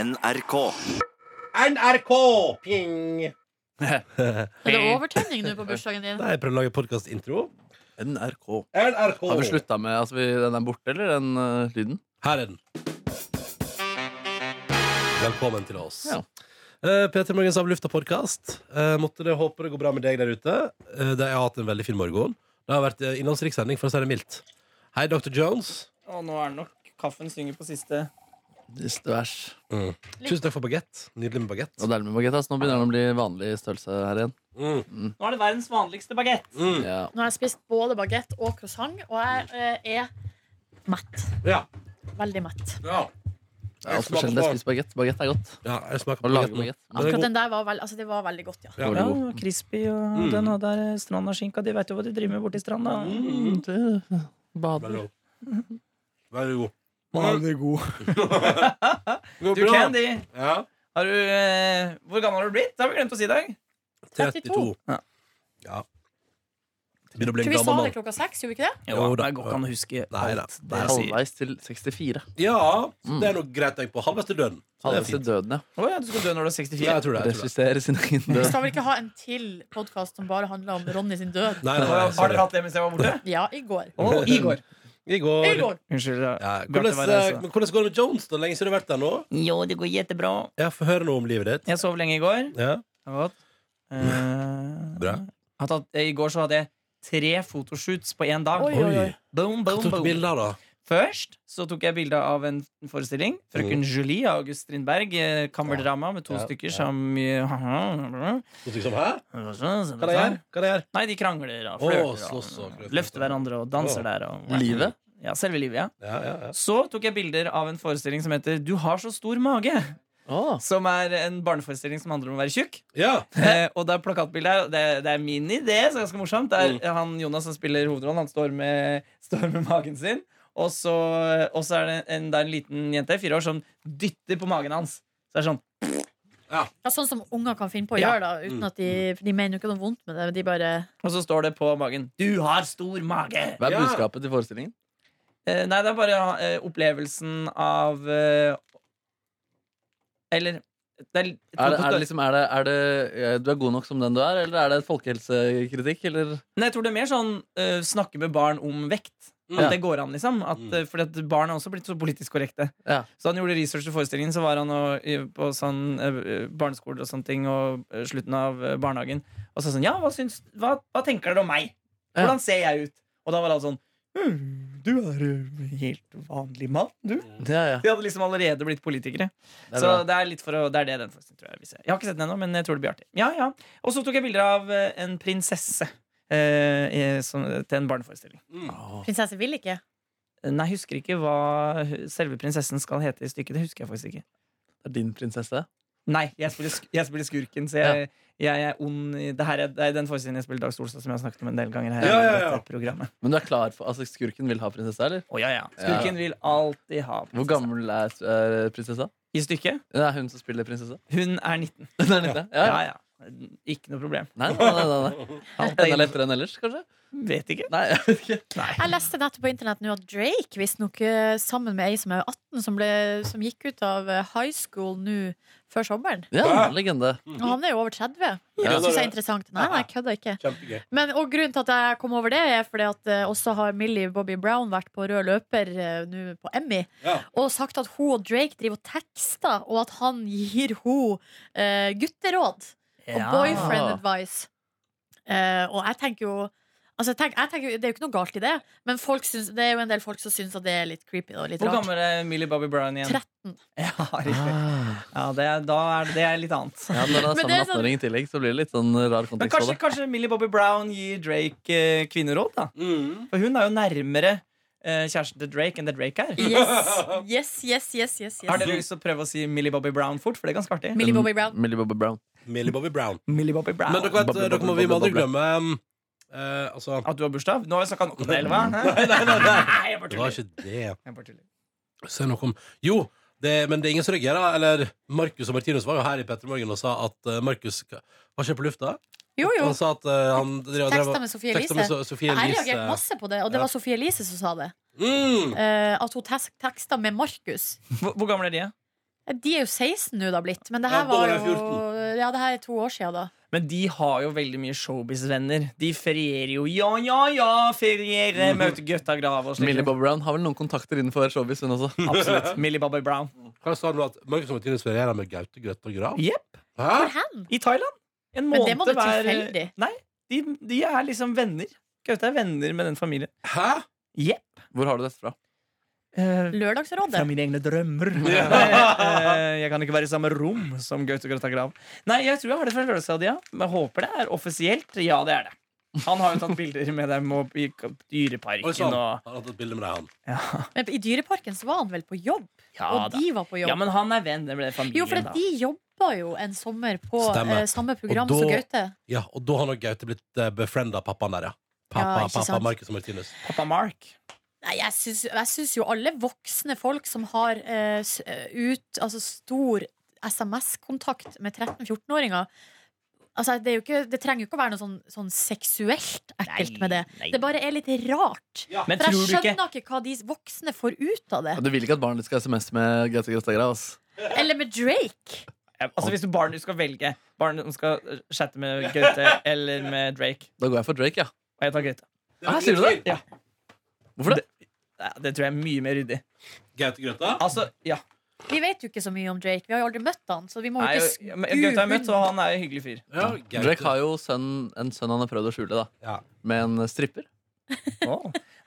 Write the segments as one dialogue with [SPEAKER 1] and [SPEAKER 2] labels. [SPEAKER 1] NRK.
[SPEAKER 2] NRK! Ping!
[SPEAKER 3] Er det overtenning nå på bursdagen din?
[SPEAKER 4] Nei, jeg prøvde å lage podkastintro.
[SPEAKER 1] NRK.
[SPEAKER 2] NRK!
[SPEAKER 1] Har vi slutta med altså, vi, Den er borte, eller den eh, lyden?
[SPEAKER 4] Her er den. Velkommen til oss.
[SPEAKER 1] Ja.
[SPEAKER 4] Eh, P3 Morgens av lufta podkast. Eh, måtte det håpe det går bra med deg der ute. Eh, det, jeg har hatt en veldig fin morgen. Det har vært eh, innholdsrik sending, for å si det mildt. Hei, Dr. Jones.
[SPEAKER 5] Og nå er det nok kaffen synger på siste.
[SPEAKER 1] Siste vers.
[SPEAKER 4] Mm. Tusen takk for bagett. Nydelig med bagett.
[SPEAKER 1] Og dermed baguette, ass. Nå begynner den å bli vanlig størrelse her igjen.
[SPEAKER 4] Mm.
[SPEAKER 5] Nå er det verdens vanligste bagett.
[SPEAKER 4] Mm.
[SPEAKER 1] Ja.
[SPEAKER 3] Nå har jeg spist både bagett og croissant, og jeg eh, er mett.
[SPEAKER 4] Ja.
[SPEAKER 3] Veldig mett.
[SPEAKER 4] Ja.
[SPEAKER 1] Det er altfor sjelden jeg spiser bagett. Bagett er godt.
[SPEAKER 4] ja. Jeg smaker
[SPEAKER 1] Å
[SPEAKER 4] på
[SPEAKER 1] lage
[SPEAKER 4] bagetten. Den
[SPEAKER 1] bagett.
[SPEAKER 4] er
[SPEAKER 3] Akkurat
[SPEAKER 4] god.
[SPEAKER 3] den der var, veld, altså, det var veldig godt, ja.
[SPEAKER 4] Ja.
[SPEAKER 5] Ja, og crispy, og
[SPEAKER 4] Mm.
[SPEAKER 5] den og der eh, strandaskinka. De vet jo hva de driver med borti stranda.
[SPEAKER 1] Mm. eh, Bader.
[SPEAKER 4] Mm. Veldig god. Veldig god.
[SPEAKER 5] Veldig god.
[SPEAKER 4] Går
[SPEAKER 5] Du, Candy,
[SPEAKER 4] Ja.
[SPEAKER 5] har du, eh, hvor gammel har du blitt? Det har vi glemt å si i dag.
[SPEAKER 4] 32.
[SPEAKER 5] Ja.
[SPEAKER 4] Ja. Begynner å bli
[SPEAKER 3] Skal
[SPEAKER 4] en
[SPEAKER 3] vi sa
[SPEAKER 4] gammel
[SPEAKER 3] det
[SPEAKER 4] mann.
[SPEAKER 3] klokka seks, gjorde vi ikke det?
[SPEAKER 5] Jo,
[SPEAKER 4] Jo da.
[SPEAKER 5] det går ikke an å huske
[SPEAKER 4] Nei da.
[SPEAKER 5] alt
[SPEAKER 4] Nei,
[SPEAKER 5] det jeg sier.
[SPEAKER 1] Halvveis til 64.
[SPEAKER 4] Ja,
[SPEAKER 1] Mm.
[SPEAKER 4] det er noe greit tenkt på. Halvveis til døden. Så det er
[SPEAKER 1] Halvveis til
[SPEAKER 4] fint.
[SPEAKER 1] døden, ja.
[SPEAKER 5] Å ja, du skal dø når du er 64?
[SPEAKER 4] Ja, jeg tror det. Jeg tror det.
[SPEAKER 1] Regissere sin egen
[SPEAKER 3] Vi
[SPEAKER 1] død.
[SPEAKER 3] skal vel ikke ha en til podkast som bare handler om Ronny sin død?
[SPEAKER 4] Nei, nei,
[SPEAKER 5] Å, ja,
[SPEAKER 4] nei,
[SPEAKER 5] har dere
[SPEAKER 4] sorry.
[SPEAKER 5] hatt det mens jeg var borte?
[SPEAKER 3] Ja, i går.
[SPEAKER 5] Å, i går.
[SPEAKER 4] I går.
[SPEAKER 3] I går.
[SPEAKER 5] Unnskyld. Ja.
[SPEAKER 4] Ja,
[SPEAKER 5] Bjarte
[SPEAKER 4] hvordan,
[SPEAKER 5] var
[SPEAKER 4] eh,
[SPEAKER 5] reise.
[SPEAKER 4] men hvordan går det med Jones? da? Lenge siden du har vært der nå?
[SPEAKER 5] Mm. Jo, det går jettebra.
[SPEAKER 4] Jeg får høre noe om livet ditt.
[SPEAKER 5] Jeg sov lenge i går.
[SPEAKER 4] Ja.
[SPEAKER 5] Det var godt. Eh,
[SPEAKER 4] Bra.
[SPEAKER 5] har tatt, eh, I går så hadde jeg tre fotoshoots på én dag.
[SPEAKER 3] Oi, oi, oi.
[SPEAKER 5] Boom,
[SPEAKER 4] Hva
[SPEAKER 5] boom,
[SPEAKER 4] tok
[SPEAKER 5] boom.
[SPEAKER 4] bilder, da?
[SPEAKER 5] Først så tok jeg bilde av en forestilling. 'Frøken Julie' av August Strindberg. eh, Kammerdrama med to
[SPEAKER 4] Mm. Ja,
[SPEAKER 5] stykker
[SPEAKER 4] ja.
[SPEAKER 5] som eh,
[SPEAKER 4] Du tok sånn, Hæ? Hva er det
[SPEAKER 5] Sånn.
[SPEAKER 4] her? Hva er det her?
[SPEAKER 5] Nei, de krangler og
[SPEAKER 4] Å,
[SPEAKER 5] flørter.
[SPEAKER 4] slåss og
[SPEAKER 5] og
[SPEAKER 4] flørter.
[SPEAKER 5] løfter hverandre og danser
[SPEAKER 4] Å.
[SPEAKER 5] der. Og,
[SPEAKER 1] Livet?
[SPEAKER 5] Ja, selve livet, ja.
[SPEAKER 4] Ja, ja, ja.
[SPEAKER 5] Så tok jeg bilder av en forestilling som heter 'Du har så stor mage'.
[SPEAKER 1] Å,
[SPEAKER 5] Som er en barneforestilling som handler om å være tjukk.
[SPEAKER 4] ja.
[SPEAKER 5] Eh, og det er plakatbilde her. og Det, det er min idé, så det er ganske morsomt. Det er
[SPEAKER 1] Mm.
[SPEAKER 5] han Jonas som spiller hovedrollen. Han står med, står med magen sin. Og så, og så er det en, det er en liten jente, fire år, som dytter på magen hans. Så det er sånn
[SPEAKER 3] Ja, sånn som unger kan finne på å
[SPEAKER 5] Ja.
[SPEAKER 3] gjøre, da.
[SPEAKER 4] Mm.
[SPEAKER 3] Uten at de, for de mener jo ikke noe vondt med det. De bare
[SPEAKER 5] Og så står det på magen 'Du har stor mage'.
[SPEAKER 1] Hva er
[SPEAKER 4] Ja.
[SPEAKER 1] budskapet til forestillingen?
[SPEAKER 5] Eh, nei, det er bare eh, opplevelsen av eh, Eller det er,
[SPEAKER 1] Er det, er det liksom, er det, er det, eh, du er god nok som den du er, eller er det et folkehelsekritikk? Eller?
[SPEAKER 5] Nei, jeg tror det er mer sånn eh, snakke med barn om vekt.
[SPEAKER 1] Ja.
[SPEAKER 5] At det går an, liksom. At,
[SPEAKER 4] Mm.
[SPEAKER 5] eh, fordi at barn er også blitt så politisk korrekte.
[SPEAKER 1] Ja.
[SPEAKER 5] Så han gjorde research til forestillingen, så var han og, i- på sånn eh, barneskoler og sånne ting, og eh, slutten av eh, barnehagen. Og så sånn, ja, hva, syns, hva, hva tenker dere om meg?
[SPEAKER 1] Ja.
[SPEAKER 5] Hvordan ser jeg ut? Og da var alle sånn, «Hm, du er eh, helt vanlig mann, du.
[SPEAKER 1] Ja, ja.
[SPEAKER 5] De hadde liksom allerede blitt politikere.
[SPEAKER 1] Det er
[SPEAKER 5] så
[SPEAKER 1] bra.
[SPEAKER 5] det er litt for å, det er det den forestillingen tror jeg vil se. Jeg har ikke sett den ennå, men jeg tror det blir artig. Ja, ja. Og så tok jeg bilder av eh, en prinsesse eh, i- som, til en barneforestilling.
[SPEAKER 3] Prinsesse vil ikke.
[SPEAKER 5] Nei, jeg husker ikke hva hu- selve prinsessen skal hete i stykket. Det husker jeg faktisk ikke.
[SPEAKER 1] Det er din prinsesse.
[SPEAKER 5] Nei, jeg spiller, sk jeg spiller skurken, så jeg, jeg er ond i det, her er, det er den forestillingen jeg spiller Dag Solstad, som jeg har snakket om en del ganger her.
[SPEAKER 4] Ja,
[SPEAKER 5] i
[SPEAKER 4] ja, ja.
[SPEAKER 5] dette programmet.
[SPEAKER 1] Men du er klar for Altså, skurken vil ha prinsesse, eller?
[SPEAKER 5] Å, ja, ja. Skurken vil alltid ha prinsesse.
[SPEAKER 1] Hvor gammel er eh, prinsessa?
[SPEAKER 5] I stykket?
[SPEAKER 1] Det er hun som spiller prinsesse.
[SPEAKER 5] Hun er 19.
[SPEAKER 1] Hun er liten. Ja.
[SPEAKER 5] Ja,
[SPEAKER 1] ja.
[SPEAKER 5] ja. Ikke noe problem.
[SPEAKER 1] Nei, nei, nei, nei, nei.
[SPEAKER 5] Alt
[SPEAKER 1] Enda
[SPEAKER 5] er
[SPEAKER 1] lettere enn ellers, kanskje?
[SPEAKER 5] Vet ikke.
[SPEAKER 1] Nei, jeg vet ikke.
[SPEAKER 5] Nei.
[SPEAKER 3] Jeg leste nettopp på internett nå at Drake visstnok eh, sammen med ei som er 18, som, ble, som gikk ut av eh, high school nå før sommeren.
[SPEAKER 1] Ja, legende.
[SPEAKER 3] Og han er jo over 30. Det
[SPEAKER 1] Ja.
[SPEAKER 3] syns jeg er interessant. Nei, nei, jeg kødder ikke.
[SPEAKER 4] Kjempegøy.
[SPEAKER 3] Men, og grunnen til at jeg kom over det, er fordi at eh, også har Millie Bobby Brown vært på rød løper eh, nå på Emmy
[SPEAKER 4] Ja.
[SPEAKER 3] og sagt at hun og Drake driver og tekster, og at han gir hun eh, gutteråd og boyfriend advice. Eh, og jeg tenker jo Altså, jeg tenker, jeg tenker, jo- det er jo ikke noe galt i det, men folk syns, det er jo en del folk som syns at det er litt creepy og litt
[SPEAKER 5] Hvor
[SPEAKER 3] rart.
[SPEAKER 5] gammel er Millie Bobby Brown igjen?
[SPEAKER 3] 13.
[SPEAKER 5] Ja, riktig.
[SPEAKER 1] Ah.
[SPEAKER 5] ja det er, da er det, det er litt annet.
[SPEAKER 1] Ja, når han er
[SPEAKER 3] Men
[SPEAKER 1] sammen
[SPEAKER 3] det
[SPEAKER 1] med
[SPEAKER 3] er sånn-
[SPEAKER 1] 18-åring i tillegg, så blir det litt sånn rar
[SPEAKER 5] Men
[SPEAKER 1] kontekst
[SPEAKER 5] kanskje,
[SPEAKER 1] av det.
[SPEAKER 5] kanskje Millie Bobby Brown gir Drake eh, kvinneråd, da?
[SPEAKER 4] Mm.
[SPEAKER 5] For hun er jo nærmere eh, kjæresten til Drake enn det Drake er.
[SPEAKER 3] Yes, yes, yes, yes, yes,
[SPEAKER 5] Har
[SPEAKER 3] yes.
[SPEAKER 5] dere lyst til å prøve å si Millie Bobby Brown fort? For det er ganske artig.
[SPEAKER 3] Millie Bobby Brown.
[SPEAKER 1] Millie Bobby Brown.
[SPEAKER 4] Millie Bobby Brown.
[SPEAKER 5] Millie Bobby Brown.
[SPEAKER 4] Men dere, vet,
[SPEAKER 1] Bobby,
[SPEAKER 4] dere må vi
[SPEAKER 1] Bobby,
[SPEAKER 4] må aldri
[SPEAKER 1] Bobby.
[SPEAKER 4] glemme um, eh, Altså
[SPEAKER 5] At du har bursdag? Nå har vi snakka nok om det, eller hva? Hæ? Nei, jeg bare
[SPEAKER 4] Det var
[SPEAKER 5] tuller.
[SPEAKER 4] ikke det.
[SPEAKER 5] Jeg bare tuller.
[SPEAKER 4] Se noe om Jo, det, men det er ingen som reagerer. Eller Markus og Martinus var jo her i Petter Morgen og sa at eh, Markus Var ikke jeg på lufta?
[SPEAKER 3] Jo, jo.
[SPEAKER 4] Han sa at eh, han drev, drev,
[SPEAKER 3] Teksta med Sofie
[SPEAKER 4] teksta
[SPEAKER 3] Elise.
[SPEAKER 4] So- Sophie
[SPEAKER 3] Jeg
[SPEAKER 4] Elise.
[SPEAKER 3] reagerte masse på det, og det
[SPEAKER 4] Ja.
[SPEAKER 3] var Sophie Elise som sa det.
[SPEAKER 4] Mm.
[SPEAKER 3] Eh, at hun tes- teksta med Markus. Eh,
[SPEAKER 5] Hvor, hvor gammel er de?
[SPEAKER 3] De er jo 16 nå, da blitt. Men det
[SPEAKER 2] Ja,
[SPEAKER 3] her var
[SPEAKER 2] da var jeg
[SPEAKER 3] jo Ja, det her er to år siden, da.
[SPEAKER 5] Men de har jo veldig mye showbiz-venner. De ferierer jo. Ja, ja, ja, feriere! Møter gutta grav og slikt.
[SPEAKER 1] Millie Bob Brown har vel noen kontakter innenfor showbiz, hun også.
[SPEAKER 5] Absolutt. Millie Bobby Brown.
[SPEAKER 4] Hva sa du nå at Markus og Martinus ferierer med Gaute, Grøtte og Grav?
[SPEAKER 5] Jepp.
[SPEAKER 4] Hæ?
[SPEAKER 3] Hvor hen?
[SPEAKER 5] I Thailand. En
[SPEAKER 3] Men det må
[SPEAKER 5] måned
[SPEAKER 3] da
[SPEAKER 5] hver-
[SPEAKER 3] tilfeldig.
[SPEAKER 5] Nei, de, de er liksom venner. Gaute er venner med den familien.
[SPEAKER 4] Hæ?
[SPEAKER 5] Jepp.
[SPEAKER 1] Hvor har du dette fra?
[SPEAKER 5] Eh, Fra
[SPEAKER 3] Lørdagsrådet.
[SPEAKER 5] mine egne drømmer. Eh, jeg kan ikke være i samme rom som Gaute Grøtta Grav. Nei, jeg tror jeg har det fra Lørdagsradia. Men jeg håper det er offisielt. Ja, det er det. Han har jo tatt bilder med dem og i
[SPEAKER 4] Oi sånn. sann.
[SPEAKER 5] Dyreparken og
[SPEAKER 4] Har han tatt bilde med deg, han?
[SPEAKER 5] ja,
[SPEAKER 3] Men i Dyreparken så var han vel på jobb?
[SPEAKER 5] ja,
[SPEAKER 3] og
[SPEAKER 5] da.
[SPEAKER 3] de var på jobb.
[SPEAKER 5] ja, men han er venn. Det ble familien,
[SPEAKER 3] jo, for at de jobba jo en sommer på
[SPEAKER 4] Stemmer.
[SPEAKER 3] eh, samme program
[SPEAKER 4] Og da-
[SPEAKER 3] som Gaute.
[SPEAKER 4] Ja, og da har nok Gaute blitt eh, befrienda av pappaen der, ja. Pappa,
[SPEAKER 3] Ja, ikke
[SPEAKER 4] pappa,
[SPEAKER 3] sant?
[SPEAKER 4] Markus og Martinus.
[SPEAKER 5] da. Pappa Mark.
[SPEAKER 3] Nei, jeg syns, jeg syns jo alle voksne folk som har eh, s- eh, ut, altså stor SMS-kontakt med 13-14-åringer altså det, er jo ikke, det trenger jo ikke å være noe sånn, sånn seksuelt ekkelt med det.
[SPEAKER 5] Nei.
[SPEAKER 3] Det bare er litt rart.
[SPEAKER 5] Men
[SPEAKER 3] For
[SPEAKER 5] tror
[SPEAKER 3] jeg
[SPEAKER 5] du ikke
[SPEAKER 3] skjønner ikke hva de voksne får ut av det.
[SPEAKER 1] Du vil ikke at barnet ditt skal ha SMS med Gaute Grøtta Grav. ass.
[SPEAKER 3] Eller med Drake.
[SPEAKER 5] Altså Hvis du barn du skal velge Barn som skal chatte med Gaute eller med Drake
[SPEAKER 1] Da går jeg for Drake, ja.
[SPEAKER 5] Og jeg tar Gaute.
[SPEAKER 1] Hæ, Ah, sier du det?
[SPEAKER 5] Ja.
[SPEAKER 1] Hvorfor det?
[SPEAKER 5] Ja, Det tror jeg er mye mer ryddig.
[SPEAKER 4] Gaute Grøtta?
[SPEAKER 5] Altså, ja
[SPEAKER 3] Vi vet jo ikke så mye om Drake. Vi har jo aldri møtt han, så vi må
[SPEAKER 5] Nei,
[SPEAKER 3] jo
[SPEAKER 5] jo,
[SPEAKER 3] ikke
[SPEAKER 5] ja, men Gaute har jeg møtt, og han er en hyggelig fyr.
[SPEAKER 4] Ja, Gaute.
[SPEAKER 1] Drake har jo sønn, en sønn han har prøvd å skjule, da.
[SPEAKER 4] Ja.
[SPEAKER 1] Med en stripper.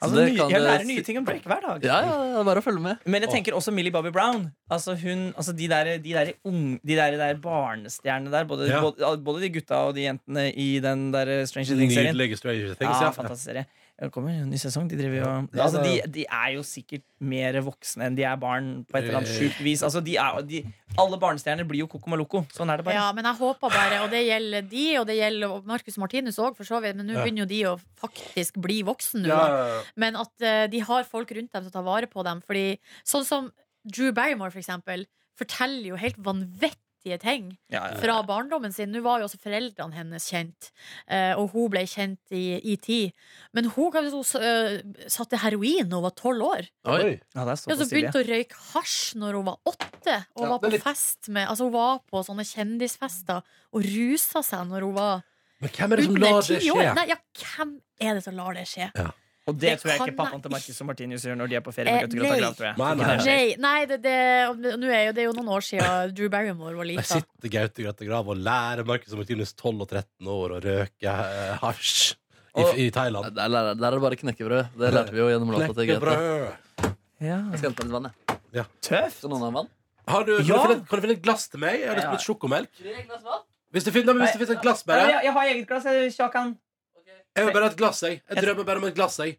[SPEAKER 5] Altså,
[SPEAKER 1] det
[SPEAKER 5] ny,
[SPEAKER 1] kan
[SPEAKER 5] jeg
[SPEAKER 1] det
[SPEAKER 5] lærer
[SPEAKER 1] si-
[SPEAKER 5] nye ting om Drake hver dag.
[SPEAKER 1] Ja, ja, det er bare å følge med.
[SPEAKER 5] Men jeg tenker også Millie Bobby Brown. Altså hun, altså De der, de der, ung- de der, der barnestjernene der, både,
[SPEAKER 4] Ja.
[SPEAKER 5] både, både de gutta og de jentene i den der eh, Stranger Things-serien.
[SPEAKER 4] Nydelige Stranger Things.
[SPEAKER 5] Ja,
[SPEAKER 4] Ja,
[SPEAKER 5] fantastisk serie. Det kommer en ny sesong. De driver jo
[SPEAKER 4] Ja,
[SPEAKER 5] altså,
[SPEAKER 4] det-
[SPEAKER 5] de, de er jo sikkert mer voksne enn de er barn, på et eller annet sjukt vis. Altså, de er, de, alle barnestjerner blir jo Coco Maloko. Sånn er det bare.
[SPEAKER 3] Ja, men jeg håper bare, og det gjelder de, og det gjelder Marcus Martinus òg, for så vidt, men nå
[SPEAKER 4] Ja.
[SPEAKER 3] begynner jo de å faktisk bli voksen nå,
[SPEAKER 4] Ja,
[SPEAKER 3] da.
[SPEAKER 4] ja, ja.
[SPEAKER 3] Men at eh, de har folk rundt dem som tar vare på dem. Fordi sånn som Drew Barrymore, for eksempel, forteller jo helt vanvittige ting
[SPEAKER 5] Ja, ja.
[SPEAKER 3] fra barndommen sin. Nå var jo også foreldrene hennes kjent, eh, og hun ble kjent i, i tid. Men hun, kan jo så- eh, satte heroin da hun var tolv år.
[SPEAKER 1] Oi.
[SPEAKER 4] Oi.
[SPEAKER 5] Ja, det er
[SPEAKER 3] Ja, så
[SPEAKER 5] så Silje.
[SPEAKER 3] begynte hun å røyke hasj når hun var åtte. Og
[SPEAKER 4] Ja,
[SPEAKER 3] var
[SPEAKER 4] det
[SPEAKER 3] på
[SPEAKER 4] er litt-
[SPEAKER 3] fest med Altså hun var på sånne kjendisfester og rusa seg når hun var
[SPEAKER 4] Men hvem er det som
[SPEAKER 3] under
[SPEAKER 4] lar det
[SPEAKER 3] ti år.
[SPEAKER 4] skje?
[SPEAKER 3] Nei, ja, hvem er det som lar det skje?
[SPEAKER 5] Og det,
[SPEAKER 3] Det
[SPEAKER 5] tror jeg
[SPEAKER 3] kan
[SPEAKER 5] ikke pappaen
[SPEAKER 3] jeg
[SPEAKER 5] til Marcus og Martinus gjør når de er på ferie.
[SPEAKER 3] Eh,
[SPEAKER 5] med Gutter Gutter
[SPEAKER 3] nei.
[SPEAKER 5] Grav, tror jeg.
[SPEAKER 4] Nei, nei,
[SPEAKER 5] Ikke det skjer.
[SPEAKER 3] Nei, nei det, det, og nå er jo, det er jo noen år siden Drew Barrymore var
[SPEAKER 4] Der
[SPEAKER 3] lita.
[SPEAKER 4] sitter Gaute Grøtta Grav og lærer Markus og Martinus 12 og 13 år å røke eh, hasj i,
[SPEAKER 5] Og-
[SPEAKER 4] i Thailand.
[SPEAKER 1] Der, der der er det bare knekkebrød. Det lærte vi jo gjennom låta til Greta.
[SPEAKER 4] Knekkebrød.
[SPEAKER 1] Jeg skal hente litt vann, jeg.
[SPEAKER 5] Tøft!
[SPEAKER 1] Skal noen ha vann?
[SPEAKER 4] Har du, kan,
[SPEAKER 5] Ja.
[SPEAKER 4] du finne, et- kan du finne et glass til meg? Jeg har lyst på litt sjokomelk. Hvis det finnes, nei, men hvis det finnes et glass,
[SPEAKER 5] Nei,
[SPEAKER 4] bare.
[SPEAKER 5] jeg, jeg har eget glass, jeg, Kjakan.
[SPEAKER 4] Jeg vil bare ha et glass, jeg. Jeg drømmer bare om et glass, jeg.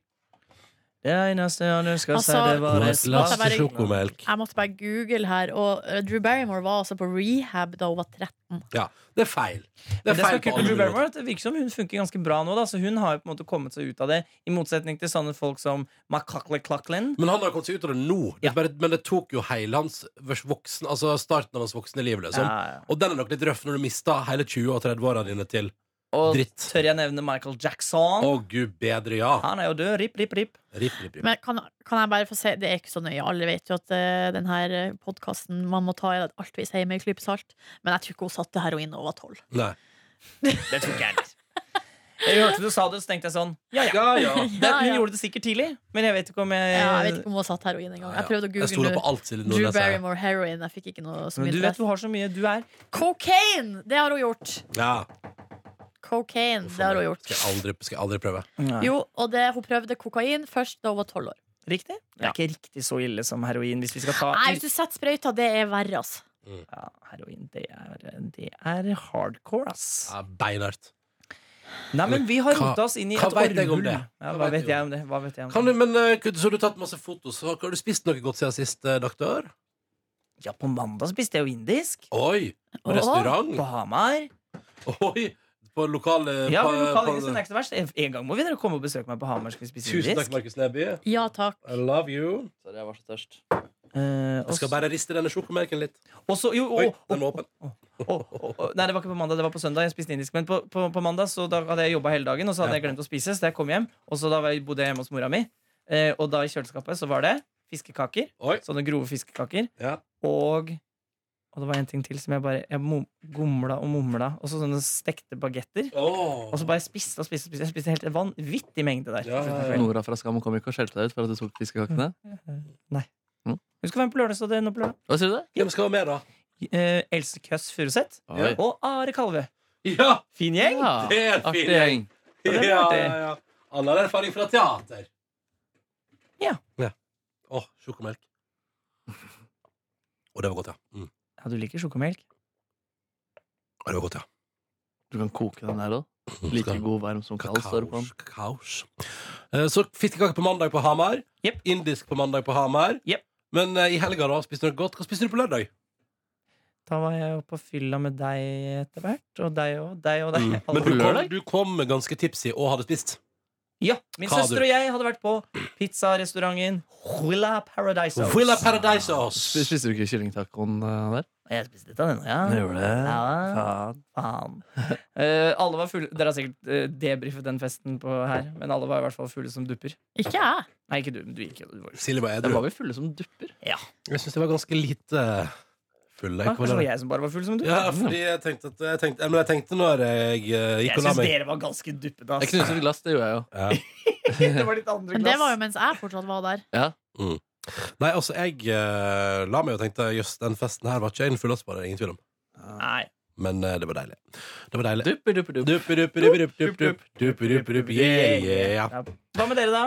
[SPEAKER 5] Det eneste jeg ønsker
[SPEAKER 3] Altså, seg, det var
[SPEAKER 4] Og
[SPEAKER 3] et glass til
[SPEAKER 4] sjokomelk.
[SPEAKER 3] Jeg måtte bare google her, og eh, Drew Barrymore var altså på rehab da hun var 13.
[SPEAKER 4] Ja, det er feil. Det
[SPEAKER 5] Det,
[SPEAKER 4] er
[SPEAKER 5] som er
[SPEAKER 4] feil på
[SPEAKER 5] kult med
[SPEAKER 4] alle
[SPEAKER 5] Drew
[SPEAKER 4] muligheter.
[SPEAKER 5] Barrymore, er at det virker som hun funker ganske bra nå. Da. Så hun har jo på en måte kommet seg ut av det, i motsetning til sånne folk som McCuckley Clucklin.
[SPEAKER 4] Men han har kommet seg ut av det nå. Det er bare, men det tok jo hele hans voksen, altså starten av hans voksne liv. Liksom.
[SPEAKER 5] Ja, ja.
[SPEAKER 4] Og den er nok litt røff når du mister hele 20- og 30-årene dine til
[SPEAKER 5] Og
[SPEAKER 4] dritt.
[SPEAKER 5] tør jeg nevne Michael Jackson?
[SPEAKER 4] Å, gud bedre, ja.
[SPEAKER 5] Han er jo død. Rip, rip, rip.
[SPEAKER 4] Rip, rip, rip.
[SPEAKER 3] Men kan, kan jeg bare få se Det er ikke så nøye. Alle vet jo at eh, den denne podkasten man må ta i alt vi sier med en klype salt. Men jeg tror ikke hun satte heroin da hun var tolv.
[SPEAKER 4] Nei.
[SPEAKER 5] Det tok jeg litt. Jeg hørte du sa det, så tenkte jeg sånn. Ja, ja.
[SPEAKER 4] Ja, ja.
[SPEAKER 5] Det, hun
[SPEAKER 3] Ja, ja.
[SPEAKER 5] gjorde det sikkert tidlig, men jeg vet ikke om
[SPEAKER 3] Ja,
[SPEAKER 5] jeg,
[SPEAKER 3] jeg vet ikke om hun satt heroin engang. Jeg prøvde å
[SPEAKER 4] Jeg stoler
[SPEAKER 3] google
[SPEAKER 4] på alt Silje
[SPEAKER 3] Drew
[SPEAKER 4] Nordnes sier.
[SPEAKER 3] Barrymore heroin. Jeg fikk ikke noe så
[SPEAKER 5] Men
[SPEAKER 3] mye
[SPEAKER 5] du vet
[SPEAKER 3] treff.
[SPEAKER 5] du har så mye. Du er
[SPEAKER 3] Cocaine! Det har hun gjort.
[SPEAKER 4] Ja.
[SPEAKER 3] Cocaine, det har hun gjort.
[SPEAKER 4] Skal jeg aldri, skal jeg aldri prøve.
[SPEAKER 3] Jo, og det, hun prøvde kokain først da hun var tolv år.
[SPEAKER 5] Riktig? Det er ikke riktig så ille som heroin. Hvis vi skal ta
[SPEAKER 3] Nei, hvis du setter sprøyta, det er verre, altså.
[SPEAKER 5] ja, Heroin, det er, det er hardcore, ass.
[SPEAKER 4] Ja, beinhardt.
[SPEAKER 5] Nei, men vi har
[SPEAKER 4] Hva-
[SPEAKER 5] rota oss inn i
[SPEAKER 4] hva
[SPEAKER 5] et
[SPEAKER 4] vet jeg om
[SPEAKER 5] orrhull.
[SPEAKER 4] det?
[SPEAKER 5] Ja,
[SPEAKER 4] Hva
[SPEAKER 5] hva
[SPEAKER 4] vet
[SPEAKER 5] vet
[SPEAKER 4] jeg
[SPEAKER 5] jeg om det? Hva vet jeg om
[SPEAKER 4] Kan du,
[SPEAKER 5] det?
[SPEAKER 4] men, eh, så har du tatt masse fotos. Har har du spist noe godt siden sist, eh, doktor?
[SPEAKER 5] Ja, på mandag spiste jeg jo indisk.
[SPEAKER 4] Oi! På
[SPEAKER 3] Åh.
[SPEAKER 4] restaurant?
[SPEAKER 5] På Hamar.
[SPEAKER 4] Oi! På lokale
[SPEAKER 5] Ja,
[SPEAKER 4] Eh, på-
[SPEAKER 5] men lokal
[SPEAKER 4] på-
[SPEAKER 5] indisk er ikke så verst. En- En gang må vi dere komme og besøke meg på Hamar. Skal vi spise
[SPEAKER 4] Tusen takk,
[SPEAKER 5] indisk?
[SPEAKER 4] Markus Neby.
[SPEAKER 3] Ja takk.
[SPEAKER 4] I love you.
[SPEAKER 1] Sorry, jeg var så tørst.
[SPEAKER 5] Eh,
[SPEAKER 4] Jeg skal
[SPEAKER 5] også-
[SPEAKER 4] bare riste denne sjokomelken litt.
[SPEAKER 5] også- jo,
[SPEAKER 4] Oi,
[SPEAKER 5] og-
[SPEAKER 4] den var åpen.
[SPEAKER 5] og- og- og- Nei, det var ikke på mandag, det var på søndag. Jeg spiste indisk. Men på, på, på mandag så da hadde jeg jobba hele dagen, og så hadde jeg glemt å spise. Så da jeg kom hjem, og så da var jeg, bodde jeg hjemme hos mora mi, eh, og da i kjøleskapet så var det fiskekaker.
[SPEAKER 4] Oi.
[SPEAKER 5] Sånne grove fiskekaker.
[SPEAKER 4] Ja.
[SPEAKER 5] Og Og det var en ting til som jeg bare Jeg mo- gomla og mumla. Og så sånne stekte bagetter. Og så bare spiste og spiste. og spiste Jeg spiste en helt vanvittig mengde der.
[SPEAKER 4] Ja, ja, ja.
[SPEAKER 1] Nora fra Skam kom ikke og skjelte deg ut for at du tok fiskekakene.
[SPEAKER 5] Husk å være med på Lørdagsrådet nå på lørdag.
[SPEAKER 1] Hva sier du det?
[SPEAKER 4] Hvem skal være med, da?
[SPEAKER 5] Eh, Else Køss Furuseth
[SPEAKER 1] Oi.
[SPEAKER 5] og Are Kalve.
[SPEAKER 4] Ja!
[SPEAKER 5] Fin gjeng.
[SPEAKER 1] Ja,
[SPEAKER 4] Det er en
[SPEAKER 1] artig
[SPEAKER 4] fin
[SPEAKER 1] gjeng.
[SPEAKER 5] Ja, det
[SPEAKER 4] Ja,
[SPEAKER 5] er artig.
[SPEAKER 4] ja, ja. Alle har erfaring fra teater.
[SPEAKER 5] Ja.
[SPEAKER 4] Å, sjokomelk. Og det var godt, ja. Mm.
[SPEAKER 5] Ja, du liker sjokomelk?
[SPEAKER 4] Og det var godt, ja. Mm.
[SPEAKER 1] Du kan koke den der òg. Like god varm som kald, står det på den.
[SPEAKER 4] Kakaos. kakaos. Eh, Så fiskekake på mandag på Hamar.
[SPEAKER 5] Jepp.
[SPEAKER 4] Indisk på mandag på Hamar.
[SPEAKER 5] Jepp.
[SPEAKER 4] Men eh, i helga da, spiste du noe godt? Hva spiste du på lørdag?
[SPEAKER 5] Da var jeg jo på fylla med deg etter hvert. Og deg og deg og deg.
[SPEAKER 4] Mm.
[SPEAKER 5] Alle
[SPEAKER 4] Men du
[SPEAKER 5] på
[SPEAKER 4] kom,
[SPEAKER 5] lørdag.
[SPEAKER 4] du kom ganske tipsy og hadde spist.
[SPEAKER 5] Ja, Min
[SPEAKER 4] Hva
[SPEAKER 5] søster
[SPEAKER 4] hadde
[SPEAKER 5] og jeg hadde vært på pizzarestauranten Huila Paradiso.
[SPEAKER 4] Villa Paradise House.
[SPEAKER 1] Spiste du ikke kyllingtacoen eh, der?
[SPEAKER 5] Og jeg spiste litt av denne, ja.
[SPEAKER 1] gjorde det.
[SPEAKER 5] Ja,
[SPEAKER 1] Faen.
[SPEAKER 5] faen. Eh, alle var fulle Dere har sikkert eh, debrifet den festen på her, men alle var i hvert fall fulle som dupper.
[SPEAKER 3] Ikke jeg.
[SPEAKER 5] Nei, ikke du. men Du gikk jo. Du var jo
[SPEAKER 4] Silje var
[SPEAKER 1] Der
[SPEAKER 4] edru.
[SPEAKER 1] var vi fulle som dupper.
[SPEAKER 4] Jeg syns det var ganske lite eh, fulle.
[SPEAKER 5] Kanskje det var jeg som bare var full som dupp?
[SPEAKER 4] Ja, fordi jeg tenkte, at, jeg tenkte, men jeg tenkte når jeg eh, gikk
[SPEAKER 5] jeg
[SPEAKER 4] og la
[SPEAKER 5] syns
[SPEAKER 4] meg
[SPEAKER 5] dere var ganske duppete.
[SPEAKER 1] Jeg
[SPEAKER 5] ass.
[SPEAKER 1] knuste et glass, det gjorde jeg jo.
[SPEAKER 4] ja.
[SPEAKER 5] Det var litt andre
[SPEAKER 3] Men det var jo
[SPEAKER 5] glass.
[SPEAKER 3] mens jeg fortsatt var der.
[SPEAKER 4] Nei, altså, jeg eh, la meg og tenkte jøss, den festen her var ikke en fullårsbar, det er ingen tvil om.
[SPEAKER 5] Nei.
[SPEAKER 4] Men eh, det var deilig. Det var deilig.
[SPEAKER 1] Dupper, dupper, dupper.
[SPEAKER 4] Dupp, dupp, dupp, dupp, dupp, dupp, dupp, dupp, dupp, yeah, yeah.
[SPEAKER 5] Ja. Hva med dere, da?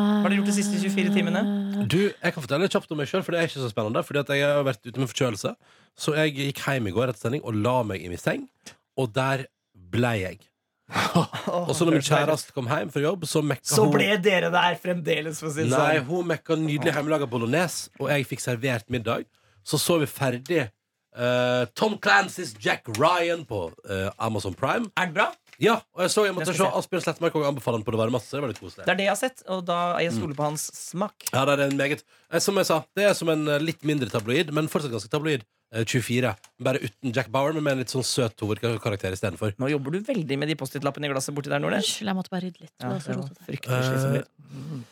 [SPEAKER 3] Har
[SPEAKER 5] dere gjort de siste 24 timene?
[SPEAKER 4] Du, jeg kan fortelle litt kjapt om meg sjøl, for det er ikke så spennende. Fordi at jeg har vært ute med forkjølelse. Så jeg gikk hjem i går etter sending og la meg i min seng, og der ble jeg. Og så når min kjæreste kom hjem fra jobb, så mekka
[SPEAKER 5] Så
[SPEAKER 4] hun
[SPEAKER 5] ble dere der fremdeles, for å si det
[SPEAKER 4] Nei,
[SPEAKER 5] sånn.
[SPEAKER 4] hun mekka nydelig hjemmelaga bolognese, og jeg fikk servert middag. Så så vi ferdig eh, Tom Clancys Jack Ryan på eh, Amazon Prime.
[SPEAKER 5] Er den bra?
[SPEAKER 4] Ja, og jeg så jeg måtte
[SPEAKER 5] Den skal
[SPEAKER 4] se
[SPEAKER 5] jeg se.
[SPEAKER 4] Asbjørn Slettmark og anbefale den på det varmeste. så Det var litt koselig.
[SPEAKER 5] Det er det jeg har sett, og da jeg stoler på hans smak.
[SPEAKER 4] Ja, det er en meget eh, Som jeg sa, det er som en eh, litt mindre tabloid, men fortsatt ganske tabloid. eh, 24. Bare uten Jack Bauer, men med en litt sånn søt hovedkarakter istedenfor.
[SPEAKER 5] Nå jobber du veldig med de Post-It-lappene i glasset borti der, Nordnes.
[SPEAKER 3] Unnskyld, jeg måtte bare rydde litt. Det
[SPEAKER 5] Ja,
[SPEAKER 3] var så
[SPEAKER 5] det var
[SPEAKER 3] rotete.
[SPEAKER 5] fryktelig slitsom lyd.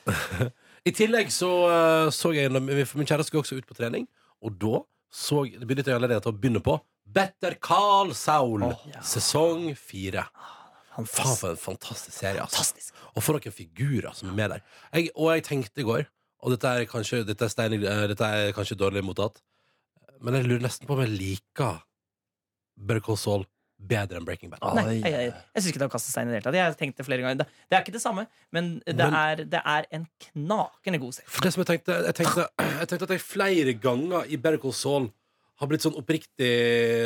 [SPEAKER 4] I tillegg så eh, så jeg gjennom for Min kjæreste skulle også ut på trening, og da så, det begynte jeg allerede til å begynne på Better Call Saul, sesong fire. Eh, Faen, for en fantastisk serie. Altså.
[SPEAKER 5] Fantastisk.
[SPEAKER 4] Og for noen figurer som er med der. Jeg, og jeg tenkte i går, og dette er kanskje, dette er steinig- eh, dette er kanskje dårlig mottatt, men jeg lurer nesten på om jeg liker Better Call Saul bedre enn Breaking Bad.
[SPEAKER 5] Nei, jeg, jeg, jeg syns ikke det er å kaste stein i det hele tatt. Jeg har tenkt det flere ganger. Det, det er ikke det samme, men det
[SPEAKER 4] Men-
[SPEAKER 5] er, det er en knakende god serie.
[SPEAKER 4] For det som jeg tenkte Jeg tenkte, jeg tenkte at jeg flere ganger i Better Call Saul har blitt sånn oppriktig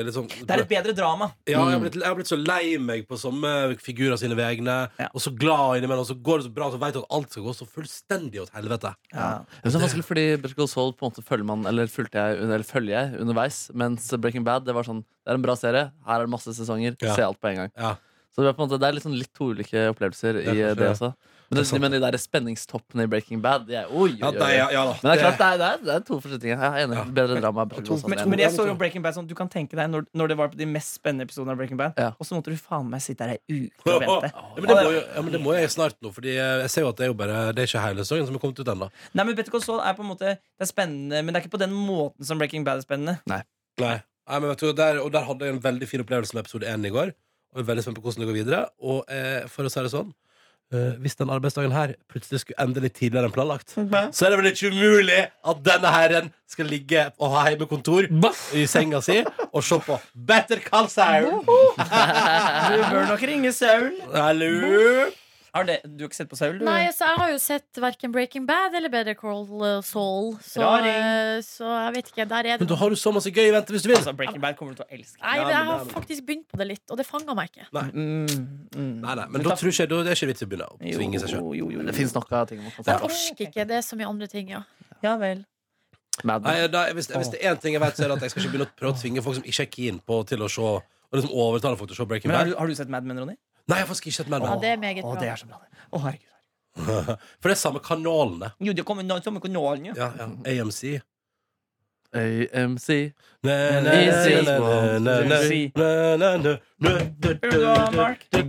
[SPEAKER 4] liksom,
[SPEAKER 5] Det er et bedre drama.
[SPEAKER 4] Ja, jeg har, blitt, jeg har blitt så lei meg på samme figurer sine vegne,
[SPEAKER 5] Ja.
[SPEAKER 4] og så glad innimellom, og så går det så bra, og så veit du at alt skal gå så fullstendig åt helvete.
[SPEAKER 1] Jeg synes Det er vanskelig fordi Better Call Saul på en måte følger man Eller fulgte jeg Eller følger jeg underveis Mens Breaking Bad Det var sånn Det er en bra serie Her er det masse sesonger
[SPEAKER 4] Ja.
[SPEAKER 1] Se alt på en gang
[SPEAKER 4] Ja.
[SPEAKER 1] Så det er på en måte Det er liksom litt to ulike
[SPEAKER 4] er
[SPEAKER 1] opplevelser I eh,
[SPEAKER 4] kanskje-
[SPEAKER 1] det også Men,
[SPEAKER 4] det er sant.
[SPEAKER 1] men de der spenningstoppene i Breaking Bad De er oi, oi, oi, oi.
[SPEAKER 4] da.
[SPEAKER 1] Men det er klart Det er, det er, det er to forskjellige ting Jeg er enig Bedre drama Better Call Saul
[SPEAKER 5] Men, men jeg så jo Breaking Bad sånn Du kan tenke deg når, når det var på de mest spennende episodene av Breaking Bad,
[SPEAKER 1] Ja.
[SPEAKER 5] og så måtte du faen meg sitte der ei uke
[SPEAKER 4] Ja,
[SPEAKER 5] og vente.
[SPEAKER 4] men det, må jo, ja, men det må jeg snart nå, Fordi eh, jeg ser jo at det er jo bare Det er ikke hele sesongen som er kommet ut ennå.
[SPEAKER 5] Nei, men Better Call Saul er på en måte Det er spennende, men det er ikke på den måten som Breaking Bad er spennende.
[SPEAKER 4] Nei. Nei, men vet du, der, og der hadde jeg en veldig fin opplevelse med episode 1 i går. Og jeg er veldig spent på hvordan det går videre. Og eh, for å si det sånn eh, Hvis den arbeidsdagen her plutselig skulle ende litt tidligere enn planlagt,
[SPEAKER 5] Mm,
[SPEAKER 4] så er det vel ikke umulig at denne herren skal ligge og ha hjemmekontor i senga si og se på Better Call Saul.
[SPEAKER 5] Du bør nok ringe Saul.
[SPEAKER 4] Hallo!
[SPEAKER 5] Har det, du har ikke sett på Saul? Du?
[SPEAKER 3] Nei, så jeg har jo sett verken Breaking Bad eller Better Call Saul, så,
[SPEAKER 5] Raring.
[SPEAKER 3] eh, så jeg vet ikke. Der er
[SPEAKER 4] Men
[SPEAKER 3] det
[SPEAKER 4] da har du så masse gøy i vente hvis du vil.
[SPEAKER 5] Altså, Breaking Bad kommer du til å elske.
[SPEAKER 3] Nei, men jeg har faktisk begynt på det litt, og det fanga meg ikke.
[SPEAKER 5] Mm, mm.
[SPEAKER 4] Nei, nei, men da tror ikke jeg, da er det ikke vits i å begynne å
[SPEAKER 5] Jo,
[SPEAKER 4] tvinge seg sjøl.
[SPEAKER 5] jo, jo, jo.
[SPEAKER 1] Det finnes nok av ting man kan se
[SPEAKER 3] Jeg
[SPEAKER 1] på.
[SPEAKER 3] orker ikke. Det er så mye andre ting, ja.
[SPEAKER 5] Ja vel.
[SPEAKER 1] Mad Men.
[SPEAKER 4] Nei, da, hvis, hvis det er én ting jeg vet, så er det at jeg skal ikke begynne å prøve å tvinge folk som ikke er keen på til å se Og liksom overtale folk til å se Breaking
[SPEAKER 5] Men har
[SPEAKER 4] Bad.
[SPEAKER 5] du, har du sett Mad Men, Ronny?
[SPEAKER 4] Nei, jeg har faktisk ikke sett Mad
[SPEAKER 3] ja
[SPEAKER 4] Men.
[SPEAKER 3] det er meget
[SPEAKER 5] Å,
[SPEAKER 3] bra.
[SPEAKER 5] det er så bra. det. Å, herregud.
[SPEAKER 4] For det er samme kanalene.
[SPEAKER 5] Jo, det kommer noen som ikke når den, jo.
[SPEAKER 4] Ja, ja. AMC.
[SPEAKER 1] AMC. I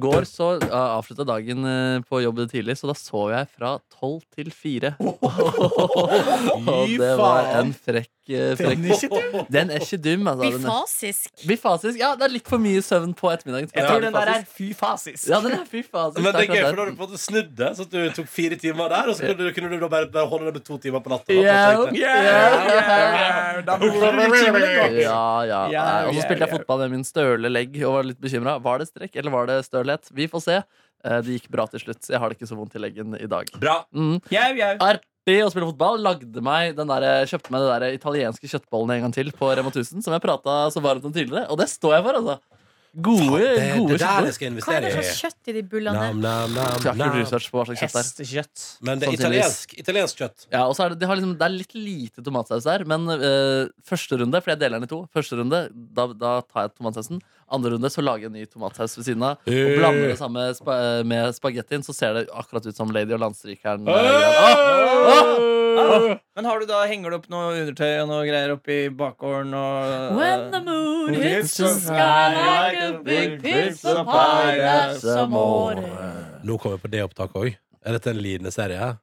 [SPEAKER 1] går så uh, avslutta dagen eh, på jobb tidlig, så da sov jeg fra tolv til fire. Og det var en frekk, eh, frekk Den er ikke dum, altså. den er-
[SPEAKER 3] Bifasisk.
[SPEAKER 1] Bifasisk. Ja, det er litt for mye søvn på ettermiddagen.
[SPEAKER 5] Jeg tror
[SPEAKER 1] Ja,
[SPEAKER 5] den der er
[SPEAKER 1] bifasisk.
[SPEAKER 5] fy fasisk.
[SPEAKER 1] Ja, den er fy fasisk.
[SPEAKER 4] Men det er
[SPEAKER 1] Takk
[SPEAKER 4] gøy,
[SPEAKER 1] for
[SPEAKER 4] for da har du
[SPEAKER 1] det.
[SPEAKER 4] på en måte snudd det, så at du tok fire timer der, og så kunne du, kunne du da bare, bare holde det med to timer på natta.
[SPEAKER 1] Ja.
[SPEAKER 4] da, på
[SPEAKER 5] Yeah. Da burde du bli timelig godt.
[SPEAKER 1] Ja, ja.
[SPEAKER 5] Ja,
[SPEAKER 1] Nei, Og så
[SPEAKER 5] ja,
[SPEAKER 1] spilte jeg
[SPEAKER 5] ja.
[SPEAKER 1] fotball med min støle legg og var litt bekymra. Var det strekk eller var det stølhet? Vi får se. Eh, Det gikk bra til slutt. så Jeg har det ikke så vondt i leggen i dag.
[SPEAKER 4] Bra.
[SPEAKER 1] Mm.
[SPEAKER 5] Jau, jau.
[SPEAKER 1] Artig å spille fotball. Lagde meg den der, eh, kjøpte meg de der italienske kjøttbollene en gang til på Rema 1000, som jeg prata så varmt om tidligere. Og det står jeg for, altså. Gode,
[SPEAKER 4] Det,
[SPEAKER 1] gode
[SPEAKER 4] det der jeg
[SPEAKER 1] kjøttboller.
[SPEAKER 4] skal
[SPEAKER 3] Hva er
[SPEAKER 4] investere
[SPEAKER 3] det
[SPEAKER 4] i.
[SPEAKER 3] slags kjøtt i de bullene?
[SPEAKER 4] Nam, nam,
[SPEAKER 1] Jeg har
[SPEAKER 4] nam,
[SPEAKER 1] ikke gjort
[SPEAKER 4] nam.
[SPEAKER 1] research på hva slags kjøtt det er.
[SPEAKER 5] Hestekjøtt.
[SPEAKER 4] Men det er
[SPEAKER 1] Sannsynligvis.
[SPEAKER 4] italiensk, italiensk kjøtt.
[SPEAKER 1] Ja, og så er det, de har liksom, det er litt lite tomatsaus der, men eh, første runde For jeg deler den i to. Første runde, da, da tar jeg tomatsausen. Andre runde så lager jeg en ny tomatsaus ved siden av. Og
[SPEAKER 4] Øh.
[SPEAKER 1] blander det samme spa eh, med spagettien, så ser det akkurat ut som Lady og Landstrykeren. eh,
[SPEAKER 4] Øh.
[SPEAKER 1] greia. Åh! Åh!
[SPEAKER 5] Men har du da, henger du opp noe undertøy og noe greier oppi bakgården og
[SPEAKER 3] When the moon hits the
[SPEAKER 5] It's
[SPEAKER 3] sky like
[SPEAKER 5] like
[SPEAKER 3] a
[SPEAKER 5] a
[SPEAKER 3] big
[SPEAKER 5] big
[SPEAKER 3] pizza pie,
[SPEAKER 5] pizza pie,
[SPEAKER 3] that's
[SPEAKER 1] that's
[SPEAKER 3] amore.
[SPEAKER 4] Nå kommer vi på det opptaket òg. Er dette en lidende serie?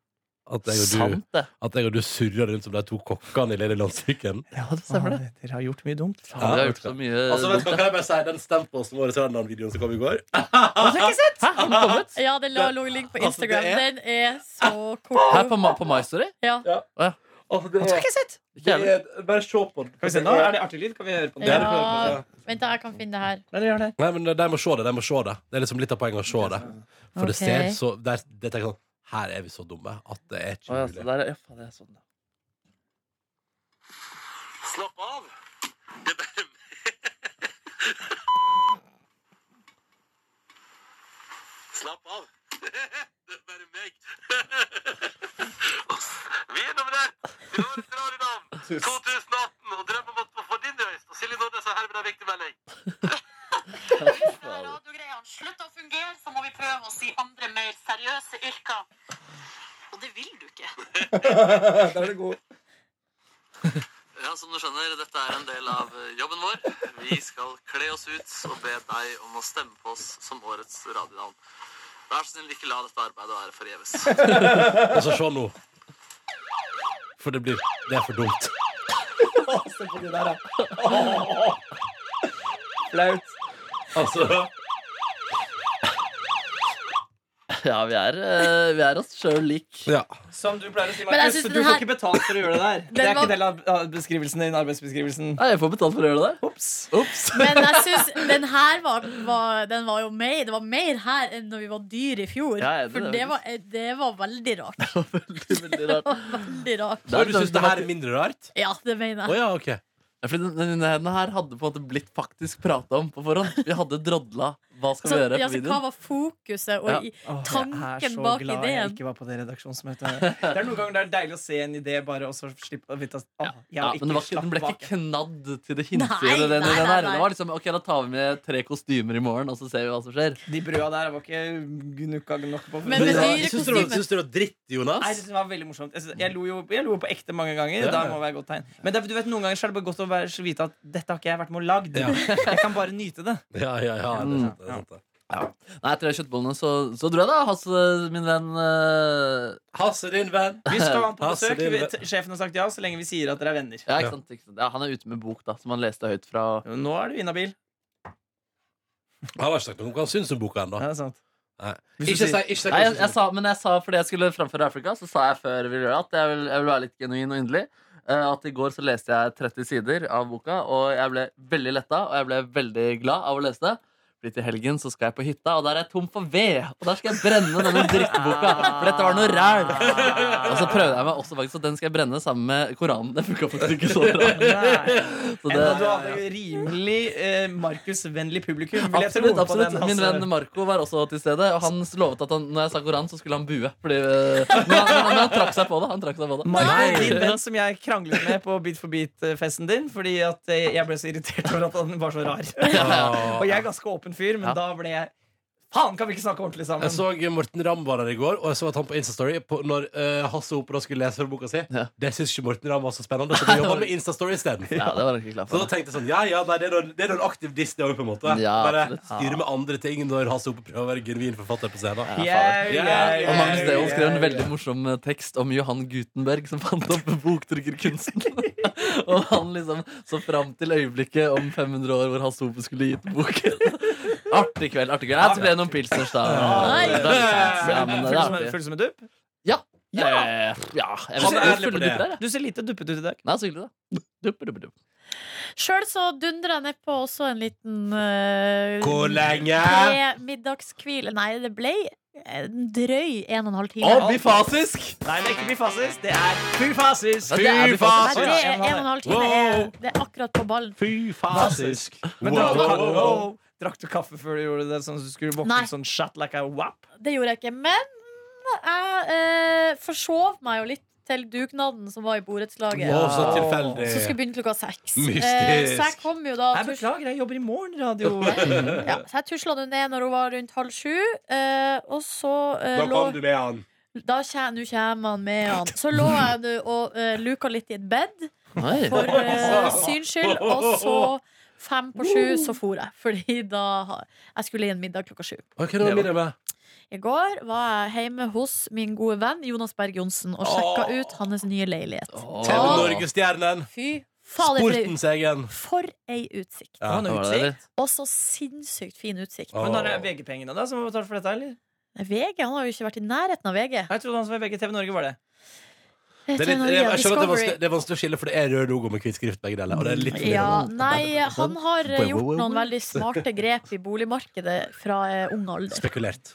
[SPEAKER 4] At jeg og du,
[SPEAKER 1] Sant, det.
[SPEAKER 4] at jeg og du surrer rundt som de to kokkene i Lille Landstryken?
[SPEAKER 1] Ja, det stemmer det.
[SPEAKER 5] Faen, Dere har gjort mye dumt.
[SPEAKER 1] Ja, vi har gjort så mye
[SPEAKER 4] Altså, vet du hva,
[SPEAKER 1] dumt,
[SPEAKER 4] kan jeg bare si Den stemposten vår i Trøndelag-videoen som kom i går
[SPEAKER 1] det. Hæ, har den kommet?
[SPEAKER 3] Ja, den lå lå ligger på
[SPEAKER 4] Altså,
[SPEAKER 3] Instagram.
[SPEAKER 4] det er-
[SPEAKER 3] Den er så
[SPEAKER 1] Her
[SPEAKER 3] kort.
[SPEAKER 1] på, Ma- på My Story?
[SPEAKER 3] Ja.
[SPEAKER 4] altså, det
[SPEAKER 5] Ikke sett.
[SPEAKER 1] Ikke jeg heller.
[SPEAKER 4] er- Bare se på den.
[SPEAKER 5] Kan vi se nå? Er det artig lyd? Kan vi høre på den?
[SPEAKER 3] Ja.
[SPEAKER 4] det vi prøver på,
[SPEAKER 3] Vent, da, jeg kan finne det her.
[SPEAKER 5] Nei, dere gjør det.
[SPEAKER 4] Nei, men de må se det. De må se det. Det er liksom litt av poenget å se det. For det
[SPEAKER 3] Ok.
[SPEAKER 4] ser så der, det tenker jeg sånn, Her er vi så dumme at det er
[SPEAKER 1] Å,
[SPEAKER 4] ikke
[SPEAKER 1] ja, så
[SPEAKER 4] mulig.
[SPEAKER 1] der, er- ja, faen, det er sånn.
[SPEAKER 6] Slapp av. Det er bare Slapp av. Det er bare meg. Vi er nummer der. Til årets radionavn 2018. Og drømmen om å få din røyst. Og Silje Nordnes har herved en viktig melding.
[SPEAKER 7] Når radiogreiene slutter å fungere, så må vi prøve å si andre, mer seriøse yrker. Og det vil du ikke.
[SPEAKER 6] Ja, som du skjønner, dette er en del av eh, jobben vår. Vi skal kle oss ut og be deg om å stemme på oss som årets radionavn. Vær så snill, ikke la dette arbeidet være forgjeves.
[SPEAKER 4] Og så Altså, se nå. For det blir Det er for dumt.
[SPEAKER 5] Flaut.
[SPEAKER 4] Altså
[SPEAKER 1] Ja, vi er, eh, vi er oss sjøl lik.
[SPEAKER 4] Ja.
[SPEAKER 5] Som du pleier å si,
[SPEAKER 3] Men jeg
[SPEAKER 5] Markus,
[SPEAKER 3] synes
[SPEAKER 5] du
[SPEAKER 3] den
[SPEAKER 5] får
[SPEAKER 3] her-
[SPEAKER 5] ikke betalt for å gjøre det der. Det er
[SPEAKER 3] var-
[SPEAKER 5] ikke del av av beskrivelsen din, arbeidsbeskrivelsen.
[SPEAKER 1] Nei, jeg får betalt for å gjøre det.
[SPEAKER 5] Ops.
[SPEAKER 1] Ops.
[SPEAKER 3] Men jeg syns den her var, var, den var jo mer Det var mer her enn når vi var dyr i fjor.
[SPEAKER 1] Ja, jeg er enig i
[SPEAKER 3] For
[SPEAKER 1] det,
[SPEAKER 3] det var, det var veldig rart.
[SPEAKER 1] Veldig, veldig
[SPEAKER 3] Det
[SPEAKER 1] rart.
[SPEAKER 3] var veldig rart.
[SPEAKER 4] Du syns det her er sånn mindre rart?
[SPEAKER 3] Ja, det
[SPEAKER 4] Å
[SPEAKER 3] mener jeg.
[SPEAKER 4] ja, OK.
[SPEAKER 1] Ja, fordi denne, denne her hadde på en måte blitt faktisk prata om på forhånd. Vi hadde drodla hva skal
[SPEAKER 3] Så,
[SPEAKER 1] vi gjøre på
[SPEAKER 3] ja, så hva
[SPEAKER 1] videoen.
[SPEAKER 3] var fokuset
[SPEAKER 1] Ja.
[SPEAKER 3] og i,
[SPEAKER 5] Åh, jeg er
[SPEAKER 3] tanken
[SPEAKER 5] så
[SPEAKER 3] bak
[SPEAKER 5] glad
[SPEAKER 3] ideen?
[SPEAKER 5] Jeg ikke var på det redaksjonsmøtet. Det er noen ganger det er deilig å se en idé bare og så slippe å vite at åh, jeg
[SPEAKER 1] Ja,
[SPEAKER 5] har
[SPEAKER 1] men det
[SPEAKER 5] ikke
[SPEAKER 1] var ikke, den
[SPEAKER 5] slapp
[SPEAKER 1] ble
[SPEAKER 5] bak.
[SPEAKER 1] ikke knadd til det
[SPEAKER 3] Nei,
[SPEAKER 1] hinsidige. Den,
[SPEAKER 3] nei,
[SPEAKER 1] den
[SPEAKER 3] nei,
[SPEAKER 1] her. Det var liksom, ok, Da tar vi med tre kostymer i morgen, og så ser vi hva som skjer.
[SPEAKER 5] De brøda der var ikke gnukka nok på.
[SPEAKER 3] Men med
[SPEAKER 5] det var,
[SPEAKER 3] dyre
[SPEAKER 4] Syns du det var-
[SPEAKER 3] kostymer.
[SPEAKER 4] syns du det var dritt,
[SPEAKER 5] Nei, jeg
[SPEAKER 4] Jonas?
[SPEAKER 5] synes det var veldig morsomt. Jeg, synes, jeg, lo jo, jeg lo jo på ekte mange
[SPEAKER 4] Ja.
[SPEAKER 5] ganger. Da må det være et godt tegn. Men det, er- du vet, noen ganger så er det bare godt å være, vite at dette har ikke jeg vært med og lagd.
[SPEAKER 4] Ja.
[SPEAKER 5] Jeg kan bare nyte det.
[SPEAKER 3] sånn-
[SPEAKER 4] Ja, ja, ja. Det
[SPEAKER 3] Mm.
[SPEAKER 4] er sant, det er sant, det.
[SPEAKER 1] Nei, etter de kjøttbollene så, så dro jeg, da. Hasse, min venn. eh,
[SPEAKER 4] Hasse, din venn.
[SPEAKER 5] Vi skal ha han på
[SPEAKER 4] Ja, så
[SPEAKER 5] besøk.
[SPEAKER 4] det-
[SPEAKER 5] Vi, t- sjefen har sagt ja, så lenge vi sier at dere er venner.
[SPEAKER 1] Ja,
[SPEAKER 4] Ja.
[SPEAKER 1] ikke sant, ikke sant. Ja, han er ute med bok, da, som han leste høyt fra.
[SPEAKER 5] Nå er du inhabil.
[SPEAKER 4] Han har ikke sagt noe om hva han syns om boka ennå.
[SPEAKER 5] Ja, det er sant.
[SPEAKER 4] Nei.
[SPEAKER 5] Hvis du
[SPEAKER 4] Ikke
[SPEAKER 5] sier-
[SPEAKER 4] si- ikke si
[SPEAKER 1] Nei,
[SPEAKER 4] hva
[SPEAKER 1] jeg, jeg
[SPEAKER 4] du syns.
[SPEAKER 1] sa, men jeg sa fordi jeg skulle framføre Afrika, så sa jeg før vi gjør det at jeg vil, jeg vil være litt genuin og inderlig. Eh, at i går så leste jeg 30 sider av boka, og jeg ble veldig letta og jeg ble veldig glad av å lese det. Fordi til helgen så skal jeg på hytta, og der er jeg tom for ved. Og der skal jeg brenne denne drittboka, for dette var noe ræl. Og så prøvde jeg meg også faktisk, og den skal jeg brenne sammen med Koranen. Det funka faktisk ikke så bra.
[SPEAKER 5] Nei.
[SPEAKER 1] Så
[SPEAKER 5] Enda du
[SPEAKER 1] det,
[SPEAKER 5] hadde rimelig eh, Markus-vennlig publikum. vil jeg tro,
[SPEAKER 1] absolutt,
[SPEAKER 5] på
[SPEAKER 1] absolutt.
[SPEAKER 5] den,
[SPEAKER 1] Min
[SPEAKER 5] altså.
[SPEAKER 1] venn Marco var også til stede, og han lovet at han, når jeg sa Koran, så skulle han bue. Fordi, eh, men, han, men, han, men han trakk seg på det. Han trakk seg på det.
[SPEAKER 5] Markus, din venn som jeg kranglet med på Beat for beat-festen din. Fordi at eh, jeg ble så irritert over at han var så rar.
[SPEAKER 4] Ja.
[SPEAKER 5] Og jeg er ganske åpen fyr, men
[SPEAKER 1] Ja.
[SPEAKER 5] da ble jeg Faen, kan vi ikke snakke ordentlig sammen?
[SPEAKER 4] Jeg så Morten Ramm var der i går, og jeg så at han på Instastory på, når eh, Hasse Opera skulle lese fra boka si.
[SPEAKER 1] Ja.
[SPEAKER 4] Det syns ikke Morten Ramm var så spennende, så da jobba han med Instastory isteden.
[SPEAKER 1] Ja, det var jeg ikke klar
[SPEAKER 4] Så da
[SPEAKER 1] for.
[SPEAKER 4] tenkte jeg sånn, ja, ja, nei, det er noen- det er noen aktiv Disney òg, på en måte.
[SPEAKER 1] Ja,
[SPEAKER 4] Bare
[SPEAKER 1] absolutt.
[SPEAKER 4] styre med andre ting når Hasse Opera prøver å være genuin forfatter på scenen.
[SPEAKER 1] Ja,
[SPEAKER 5] Yeah,
[SPEAKER 1] fader.
[SPEAKER 5] yeah,
[SPEAKER 4] Ja,
[SPEAKER 1] Og Magnus
[SPEAKER 5] yeah,
[SPEAKER 1] Devold skrev en
[SPEAKER 5] yeah,
[SPEAKER 1] veldig morsom eh, tekst om Johan Gutenberg som fant opp boktrykkerkunsten. og han liksom så fram til øyeblikket om 500 år hvor Hasse Hope skulle gitt boken. artig kveld. artig kveld Jeg tror det er noen pilsners, da.
[SPEAKER 3] Nei.
[SPEAKER 1] Det er litt sant, ja, men det
[SPEAKER 5] Full
[SPEAKER 1] er
[SPEAKER 5] som,
[SPEAKER 1] artig.
[SPEAKER 5] full som en dupp?
[SPEAKER 1] Ja, ja, ja. Jeg
[SPEAKER 4] Han
[SPEAKER 1] vet
[SPEAKER 4] er ærlig
[SPEAKER 1] ikke,
[SPEAKER 4] på
[SPEAKER 1] fulle
[SPEAKER 4] det.
[SPEAKER 1] dupper her, jeg.
[SPEAKER 5] Du ser lite duppet ut i dag.
[SPEAKER 1] Nei, så hyggelig, da. Dupp, dupp, dupp.
[SPEAKER 3] Sjøl så dundrer jeg nedpå også en liten eh,
[SPEAKER 4] Hvor lenge?
[SPEAKER 3] Pre-middagskvile. Nei, det ble en drøy en og en halv time.
[SPEAKER 5] Å, bifasisk! Nei, det er ikke bifasis. Det er
[SPEAKER 1] Ja,
[SPEAKER 5] bifasisk!
[SPEAKER 1] det er
[SPEAKER 3] Nei,
[SPEAKER 1] bifasisk.
[SPEAKER 3] det
[SPEAKER 4] altså.
[SPEAKER 3] er en og en halv time. Det er, det er akkurat på ballen.
[SPEAKER 4] Fy fasisk.
[SPEAKER 5] Men
[SPEAKER 4] Wow.
[SPEAKER 5] drakk du kaffe- wow. Drakk du kaffe før du gjorde det? Sånn at du skulle våkne
[SPEAKER 3] Nei.
[SPEAKER 5] sånn shut like a wap?
[SPEAKER 3] Det gjorde jeg ikke. Men jeg eh, forsov meg jo litt til dugnaden som var i borettslaget.
[SPEAKER 4] Wow, så
[SPEAKER 3] Som skulle
[SPEAKER 4] tilfeldig.
[SPEAKER 3] begynne klokka seks.
[SPEAKER 4] Mystisk.
[SPEAKER 3] Eh, så jeg kom jo da
[SPEAKER 5] Jeg
[SPEAKER 3] tusj-
[SPEAKER 5] beklager, jeg jobber i morgenradio.
[SPEAKER 3] ja, Så jeg tusla nå ned når hun var rundt halv sju, eh, og så eh,
[SPEAKER 4] Da
[SPEAKER 3] lå
[SPEAKER 4] kom du med han.
[SPEAKER 3] Da kjem, nå kommer han med han. Så lå jeg nå og eh, luka litt i et bed,
[SPEAKER 1] Nei.
[SPEAKER 3] for eh, syns skyld, og så fem på sju så for jeg. Fordi da ha- Jeg skulle i en middag klokka sju.
[SPEAKER 4] Hva er det middag med?
[SPEAKER 3] I går var jeg hjemme hos min gode venn Jonas Berg Johnsen og sjekka ut hans nye leilighet.
[SPEAKER 1] Åh.
[SPEAKER 4] TV
[SPEAKER 3] Åh.
[SPEAKER 4] Norgestjernen.
[SPEAKER 3] Fy fader, for ei-
[SPEAKER 4] Sportens egen.
[SPEAKER 3] for ei utsikt!
[SPEAKER 4] Ja.
[SPEAKER 5] Han er
[SPEAKER 1] Var det
[SPEAKER 5] utsikt.
[SPEAKER 1] litt?
[SPEAKER 3] Og så sinnssykt fin utsikt.
[SPEAKER 4] Åh.
[SPEAKER 5] Men da er det VG-pengene da som har betalt for dette, eller? Nei,
[SPEAKER 3] VG han har jo ikke vært i nærheten av VG.
[SPEAKER 5] Jeg trodde han som var i VG TV Norge, var det.
[SPEAKER 4] Det er, litt, jeg, jeg skjønner at det er, vanskelig, det er vanskelig å skille, for det er rød logo med hvit skrift begge deler. Og det er litt
[SPEAKER 3] Ja, nei, han har eh, gjort noen veldig smarte grep i boligmarkedet fra eh, ung alder.
[SPEAKER 4] spekulert.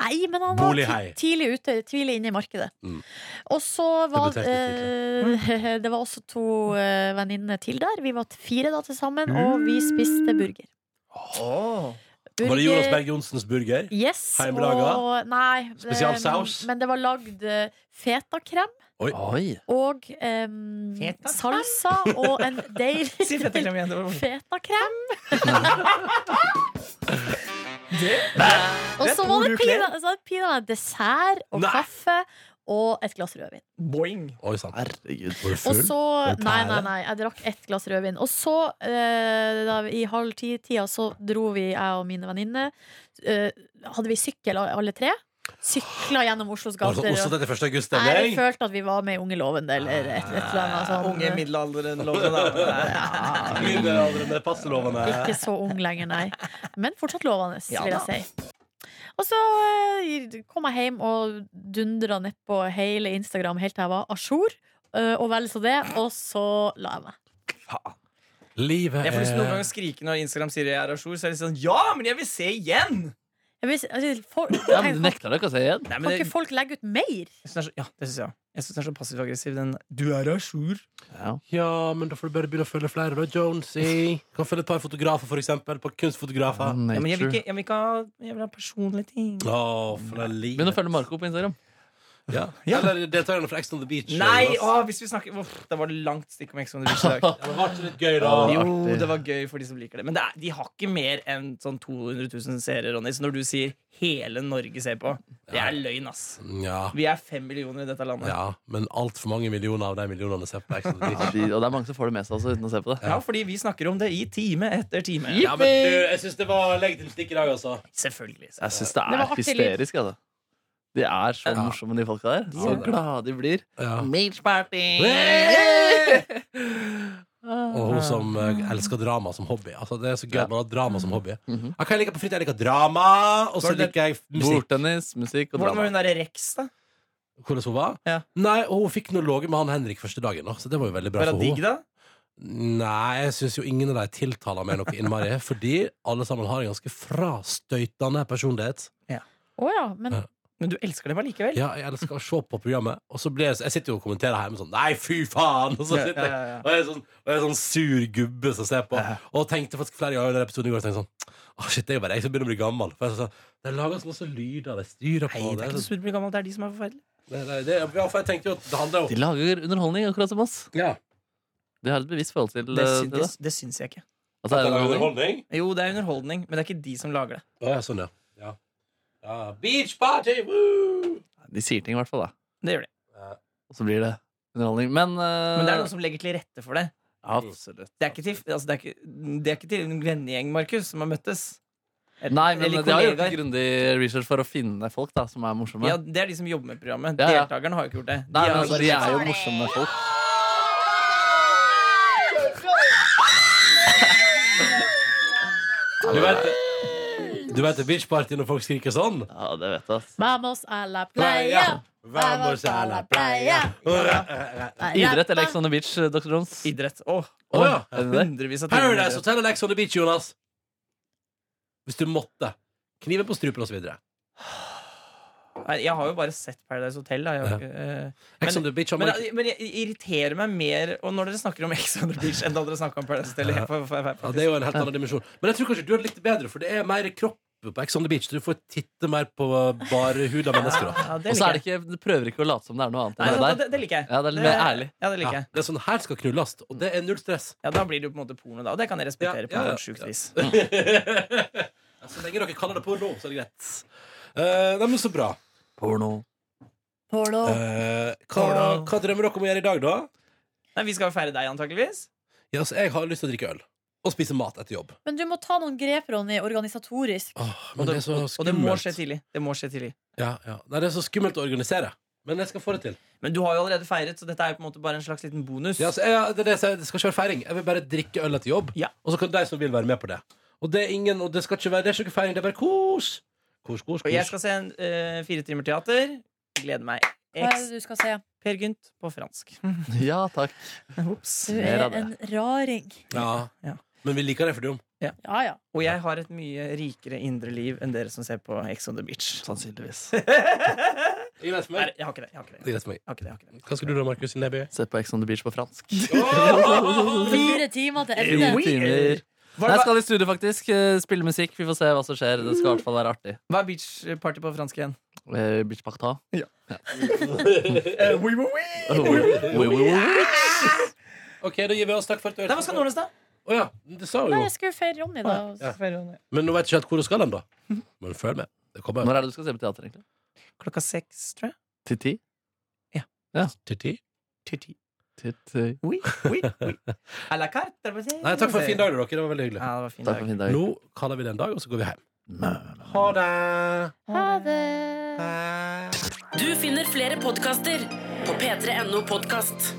[SPEAKER 3] Nei, men han var
[SPEAKER 4] Bolighai.
[SPEAKER 3] ti- tidlig ute, tidlig inne i markedet.
[SPEAKER 4] Mm.
[SPEAKER 3] Og så var
[SPEAKER 4] Det ble
[SPEAKER 3] eh, Det var også to eh, venninner til der. Vi var fire da til sammen, og vi spiste burger.
[SPEAKER 4] Mm. Var det Jonas Berg Johnsens burger?
[SPEAKER 3] Yes,
[SPEAKER 4] Heimelaga?
[SPEAKER 3] og- Nei. eh,
[SPEAKER 4] Spesialsaus?
[SPEAKER 3] Men det var lagd eh, fetakrem
[SPEAKER 1] Oi.
[SPEAKER 3] og em,
[SPEAKER 5] Fetakrem?
[SPEAKER 3] salsa og en deilig
[SPEAKER 5] Si fetteklem igjen. det var-
[SPEAKER 3] fetakrem.
[SPEAKER 5] Det?
[SPEAKER 3] Og
[SPEAKER 5] Det er
[SPEAKER 3] så
[SPEAKER 5] et
[SPEAKER 3] var
[SPEAKER 5] ord
[SPEAKER 3] det
[SPEAKER 5] du kler.
[SPEAKER 3] pina- så var det pinadø dessert og
[SPEAKER 4] Nei.
[SPEAKER 3] kaffe og et glass rødvin.
[SPEAKER 5] Boing.
[SPEAKER 4] Oi sann.
[SPEAKER 1] Herregud.
[SPEAKER 4] Var du
[SPEAKER 3] Og
[SPEAKER 4] full?
[SPEAKER 3] så
[SPEAKER 4] pære?
[SPEAKER 3] Nei, nei, nei, jeg drakk ett glass rødvin. Og så, eh, da, vi- i halv ti-tida, så dro vi, jeg og mine venninner eh, Hadde vi sykkel, alle tre? Sykla gjennom Oslos
[SPEAKER 4] Var det
[SPEAKER 3] gater.
[SPEAKER 4] sånn Oslo
[SPEAKER 3] og-
[SPEAKER 4] 31.
[SPEAKER 3] Nei, jeg
[SPEAKER 4] august-stemning?
[SPEAKER 3] følte at vi var med i Unge lovende, eller et, et eller annet sånn, sånt.
[SPEAKER 5] Unge middelalderen lovde da.
[SPEAKER 4] Middelaldrende, passelovende.
[SPEAKER 3] Ikke så ung lenger, nei. Men fortsatt lovende,
[SPEAKER 5] Ja
[SPEAKER 3] vil
[SPEAKER 5] da.
[SPEAKER 3] jeg si. Og så eh, kom jeg hjem og dundra nedpå hele Instagram helt til jeg var à jour. eh, Og vel så det. Og så la jeg meg.
[SPEAKER 4] Livet
[SPEAKER 5] Jeg får lyst til noen
[SPEAKER 4] er
[SPEAKER 5] ganger å skrike når Instagram sier jeg er ajour, så er det sånn Ja, men jeg vil se igjen!
[SPEAKER 3] Jeg vil, si- altså, for,
[SPEAKER 1] Ja, men du
[SPEAKER 3] kan,
[SPEAKER 1] nekter deg ikke å se igjen?
[SPEAKER 5] Nei, men
[SPEAKER 3] kan
[SPEAKER 5] det,
[SPEAKER 3] ikke folk legge ut mer?
[SPEAKER 5] jeg synes det er så, ja, det syns jeg òg. Jeg syns den er så passiv-aggressiv, den Du er ajour.
[SPEAKER 4] Ja, men da får du bare begynne å følge flere, da, Jonesy. Kan følge et par fotografer, for eksempel. På kunstfotografer.
[SPEAKER 5] Ja, men jeg vil ikke, jeg vil ikke ha, jeg vil ha personlige ting.
[SPEAKER 4] Å, for det er livet.
[SPEAKER 1] Begynn å følge Marco på Instagram.
[SPEAKER 4] Ja. Eller deltakerne fra Ex on the Beach.
[SPEAKER 5] Nei!
[SPEAKER 4] Jonas.
[SPEAKER 5] Å, hvis vi snakker Uff, Det var langt stikk om Ex on the Beach i dag.
[SPEAKER 4] Det var ikke litt gøy, da.
[SPEAKER 1] Ja,
[SPEAKER 5] Jo,
[SPEAKER 1] artig.
[SPEAKER 5] det var gøy for de som liker det. Men det er, de har ikke mer enn sånn 200 000 seere, Ronny. Så når du sier 'hele Norge ser på', det er løgn, ass.
[SPEAKER 4] Ja.
[SPEAKER 5] Vi er fem millioner i dette landet. Ja,
[SPEAKER 4] ja. Men altfor mange millioner av de millionene ser på Ex on the Beach.
[SPEAKER 1] Ja, de, og det er mange som får det med seg også, uten å se på det.
[SPEAKER 5] fordi vi snakker om det i time etter time.
[SPEAKER 4] Ja, men du, jeg syns det var legitimstikk i dag, altså.
[SPEAKER 5] Selvfølgelig.
[SPEAKER 1] Jeg syns det er
[SPEAKER 3] Det var artig lyd.
[SPEAKER 1] hysterisk. Altså. De er så
[SPEAKER 4] Ja.
[SPEAKER 1] morsomme, de folka der. Så
[SPEAKER 4] Ja.
[SPEAKER 1] glade de blir.
[SPEAKER 4] Ja.
[SPEAKER 1] Beach party!
[SPEAKER 4] Og hun som eh, elsker drama som hobby. Altså, det er så gøy
[SPEAKER 1] Ja.
[SPEAKER 4] med å ha drama som hobby.
[SPEAKER 1] Mhm.
[SPEAKER 4] Hva jeg liker på fritid? Jeg liker drama, og så
[SPEAKER 5] Var det-
[SPEAKER 4] liker jeg musikk.
[SPEAKER 1] Bordtennis, musikk og
[SPEAKER 5] Hvordan var
[SPEAKER 1] drama.
[SPEAKER 5] hun derre Rex, da?
[SPEAKER 4] Hvordan hun var?
[SPEAKER 5] Ja.
[SPEAKER 4] Nei, og hun fikk noe låge med han Henrik første dagen, da, så det var jo veldig bra
[SPEAKER 5] Var
[SPEAKER 4] for
[SPEAKER 5] hun digg,
[SPEAKER 4] henne.
[SPEAKER 5] da?
[SPEAKER 4] Nei, jeg syns jo ingen av de tiltaler meg noe innmari, fordi alle sammen har en ganske frastøytende personlighet.
[SPEAKER 3] Å ja, men
[SPEAKER 5] Men du elsker dem allikevel?
[SPEAKER 4] Ja, jeg elsker å se på programmet, og så blir jeg Jeg sitter jo og kommenterer hjemme sånn Nei, fy faen! Og så
[SPEAKER 5] Ja,
[SPEAKER 4] sitter jeg
[SPEAKER 5] ja, ja.
[SPEAKER 4] Og jeg er sånn, og jeg er sånn sur gubbe som ser på. Og tenkte faktisk flere ganger under episoden i går tenkte sånn Åh, shit, det er jo bare jeg som begynner å bli gammel. For jeg er sånn, Det lages masse lyder, de styrer på
[SPEAKER 5] Nei,
[SPEAKER 4] det.
[SPEAKER 5] det er
[SPEAKER 4] er
[SPEAKER 5] ikke så
[SPEAKER 4] sånn-
[SPEAKER 5] surt å bli gammel. Det er de som er forferdelige.
[SPEAKER 4] Nei, nei, det, ja, for jeg tenkte jo at det handler
[SPEAKER 1] De
[SPEAKER 4] jo
[SPEAKER 1] lager underholdning, akkurat som oss.
[SPEAKER 4] ja.
[SPEAKER 1] De har et bevisst forhold til
[SPEAKER 5] Det,
[SPEAKER 1] eh,
[SPEAKER 5] sy
[SPEAKER 1] til
[SPEAKER 5] det,
[SPEAKER 1] det.
[SPEAKER 5] det syns jeg ikke.
[SPEAKER 1] Altså, er det underholdning?
[SPEAKER 4] underholdning.
[SPEAKER 5] Jo, det er underholdning, men det er ikke de som lager det.
[SPEAKER 4] Å, ja, sånn, ja. Ja, beach party! Woo!
[SPEAKER 1] De sier ting, i hvert fall. da
[SPEAKER 5] Det gjør de.
[SPEAKER 1] Og så blir det underholdning. Men,
[SPEAKER 4] Eh.
[SPEAKER 1] eh,
[SPEAKER 5] Men det er noen som legger til rette for det.
[SPEAKER 1] Absolutt.
[SPEAKER 5] Det er ikke til, altså det er ikke, det er ikke til en vennegjeng, Markus, som har møttes. Eller-
[SPEAKER 1] Nei, men
[SPEAKER 5] eller
[SPEAKER 1] de har gjort
[SPEAKER 5] kollegaer.
[SPEAKER 1] grundig research for å finne folk da som er morsomme.
[SPEAKER 5] ja, Det er de som jobber med programmet.
[SPEAKER 1] Ja, ja.
[SPEAKER 5] Deltakerne har jo ikke gjort det.
[SPEAKER 1] Nei,
[SPEAKER 5] De
[SPEAKER 1] men
[SPEAKER 5] har-
[SPEAKER 1] altså, De er jo morsomme folk.
[SPEAKER 4] Du vet, du vet det er beach party når folk skriker sånn?
[SPEAKER 1] Ja, det vet jeg. ass.
[SPEAKER 3] Vamos a la playa.
[SPEAKER 4] Vamos a la playa.
[SPEAKER 1] Idrett eller Ex
[SPEAKER 3] liksom-
[SPEAKER 1] on the Beach, eh, Dr. Jones?
[SPEAKER 5] altså Idrett. Åh,
[SPEAKER 4] Å, ja.
[SPEAKER 1] Er det det?
[SPEAKER 5] hundrevis av timer.
[SPEAKER 4] Paradise Hotel eller Ex on the Beach, Jonas? Hvis du måtte. Kniven på strupen osv.
[SPEAKER 5] Nei, Jeg har jo bare sett Paradise Hotel. Da. Jeg har,
[SPEAKER 4] Ja.
[SPEAKER 5] jo ikke, eh,
[SPEAKER 4] Ex on the Beach har
[SPEAKER 5] men,
[SPEAKER 4] Mark-
[SPEAKER 5] men jeg irriterer meg mer og når dere snakker om Ex on the Beach enn da dere snakker om Paradise Hotel. Jeg, får- får-
[SPEAKER 4] ja,
[SPEAKER 5] får-
[SPEAKER 4] Det er jo en helt annen dimensjon. Men jeg tror kanskje du hadde likt det bedre, for det er mer kropp på Ex on the Beach. Du får titte mer på bare hud av mennesker. Da.
[SPEAKER 5] Ja, det
[SPEAKER 1] Og så er
[SPEAKER 5] liker
[SPEAKER 1] det ikke, de prøver ikke å late som det er noe annet
[SPEAKER 5] jeg.
[SPEAKER 1] enn
[SPEAKER 5] Nei,
[SPEAKER 1] det der.
[SPEAKER 5] det, det liker jeg. Eh,
[SPEAKER 1] Ja, det er litt mer ærlig.
[SPEAKER 5] Ja, det liker
[SPEAKER 4] Ja,
[SPEAKER 5] jeg.
[SPEAKER 4] det er sånn her skal knulles, og det er null stress.
[SPEAKER 5] Ja, da blir det jo på en måte porno, da. Og det kan jeg respektere
[SPEAKER 4] Ja, ja,
[SPEAKER 5] på
[SPEAKER 4] ja.
[SPEAKER 5] noe sjukt vis.
[SPEAKER 4] Så lenge dere kaller det porno, så er det greit. Uh, nei, men så bra.
[SPEAKER 1] Porno.
[SPEAKER 3] Porno.
[SPEAKER 4] Eh, hva, hva drømmer dere om å gjøre i dag, da?
[SPEAKER 5] Nei, Vi skal jo feire deg, antakeligvis.
[SPEAKER 4] Ja, altså, jeg har lyst til å drikke øl. Og spise mat etter jobb.
[SPEAKER 3] Men du må ta noen grep, Ronny, organisatorisk.
[SPEAKER 4] Åh,
[SPEAKER 5] Og
[SPEAKER 4] men det er
[SPEAKER 5] det,
[SPEAKER 4] så
[SPEAKER 5] og, og det må skje
[SPEAKER 4] skummelt.
[SPEAKER 5] tidlig. Det må skje tidlig.
[SPEAKER 4] Ja, ja. Nei, det er så skummelt å organisere. Men jeg skal få det til.
[SPEAKER 5] Men du har jo allerede feiret, så dette er jo på en måte bare en slags liten bonus.
[SPEAKER 4] Ja, altså, jeg, det, er det, jeg sier, det skal ikke være feiring. Jeg vil bare drikke øl etter jobb.
[SPEAKER 5] Ja.
[SPEAKER 4] Og så kan de som vil, være med på det. Og det er ingen, og det skal ikke være det er ikke noe feiring. Det er bare kos. Kos, kos,
[SPEAKER 5] Og jeg
[SPEAKER 4] kos.
[SPEAKER 5] skal se en eh, fire timer teater. Gleder meg.
[SPEAKER 3] Hva er
[SPEAKER 5] Ex
[SPEAKER 3] det du skal se?
[SPEAKER 5] Per Gynt på fransk.
[SPEAKER 1] Ja, takk.
[SPEAKER 5] Ops.
[SPEAKER 3] Du
[SPEAKER 1] Mer
[SPEAKER 3] er
[SPEAKER 1] av det.
[SPEAKER 3] en raring.
[SPEAKER 4] Ja.
[SPEAKER 5] Ja.
[SPEAKER 4] Men vi liker deg for dum.
[SPEAKER 3] Ja, ja.
[SPEAKER 5] Og jeg har et mye rikere indre liv enn dere som ser på Ex on the Beach.
[SPEAKER 1] Sånn. Sannsynligvis.
[SPEAKER 5] Nei,
[SPEAKER 4] Det er greit for meg.
[SPEAKER 5] jeg har ikke det. Jeg har ikke det.
[SPEAKER 4] Det er greit for meg.
[SPEAKER 5] Jeg har ikke det, jeg har ikke det.
[SPEAKER 4] Hva skal du da, Markus Neby?
[SPEAKER 1] Se på Ex on the Beach på fransk.
[SPEAKER 3] Fire timer til ende.
[SPEAKER 1] Jo, timer.
[SPEAKER 5] Hva,
[SPEAKER 1] Nei,
[SPEAKER 5] hva,
[SPEAKER 1] skal i studio, faktisk. eh, Spille musikk. Vi får se hva som skjer. Det skal i hvert fall være artig.
[SPEAKER 5] hva er beach party på fransk igjen?
[SPEAKER 1] Eh, Beach party.
[SPEAKER 4] Eh,
[SPEAKER 5] oui, oui, oui.
[SPEAKER 4] OK, da gir vi oss. Takk for at du
[SPEAKER 5] Nei, hva skal Nordnes, da?
[SPEAKER 4] Å ja, det sa hun
[SPEAKER 3] Nei,
[SPEAKER 4] jo.
[SPEAKER 3] jeg skulle feire Ronny, da.
[SPEAKER 4] Ja. Men nå vet jeg ikke helt hvor hun skal hen, da.
[SPEAKER 5] Mhm.
[SPEAKER 4] Men følg med. Det kommer.
[SPEAKER 1] Når er det du skal se på teater, egentlig?
[SPEAKER 5] Klokka seks, tror jeg.
[SPEAKER 1] Til ti?
[SPEAKER 4] Til ti.
[SPEAKER 5] Til ti.
[SPEAKER 1] Til ti.
[SPEAKER 5] Oui, oui, oui. À la carte. det vil si.
[SPEAKER 4] Nei, takk for en fin dag, dere. Det var veldig hyggelig.
[SPEAKER 5] Ja, det var fin
[SPEAKER 1] Takk for
[SPEAKER 5] dag.
[SPEAKER 1] en fin dag.
[SPEAKER 4] Nå kaller vi det en dag, og så går vi hjem.
[SPEAKER 1] Ha det.
[SPEAKER 3] Ha det.
[SPEAKER 8] Du finner flere podkaster på p3.no podkast.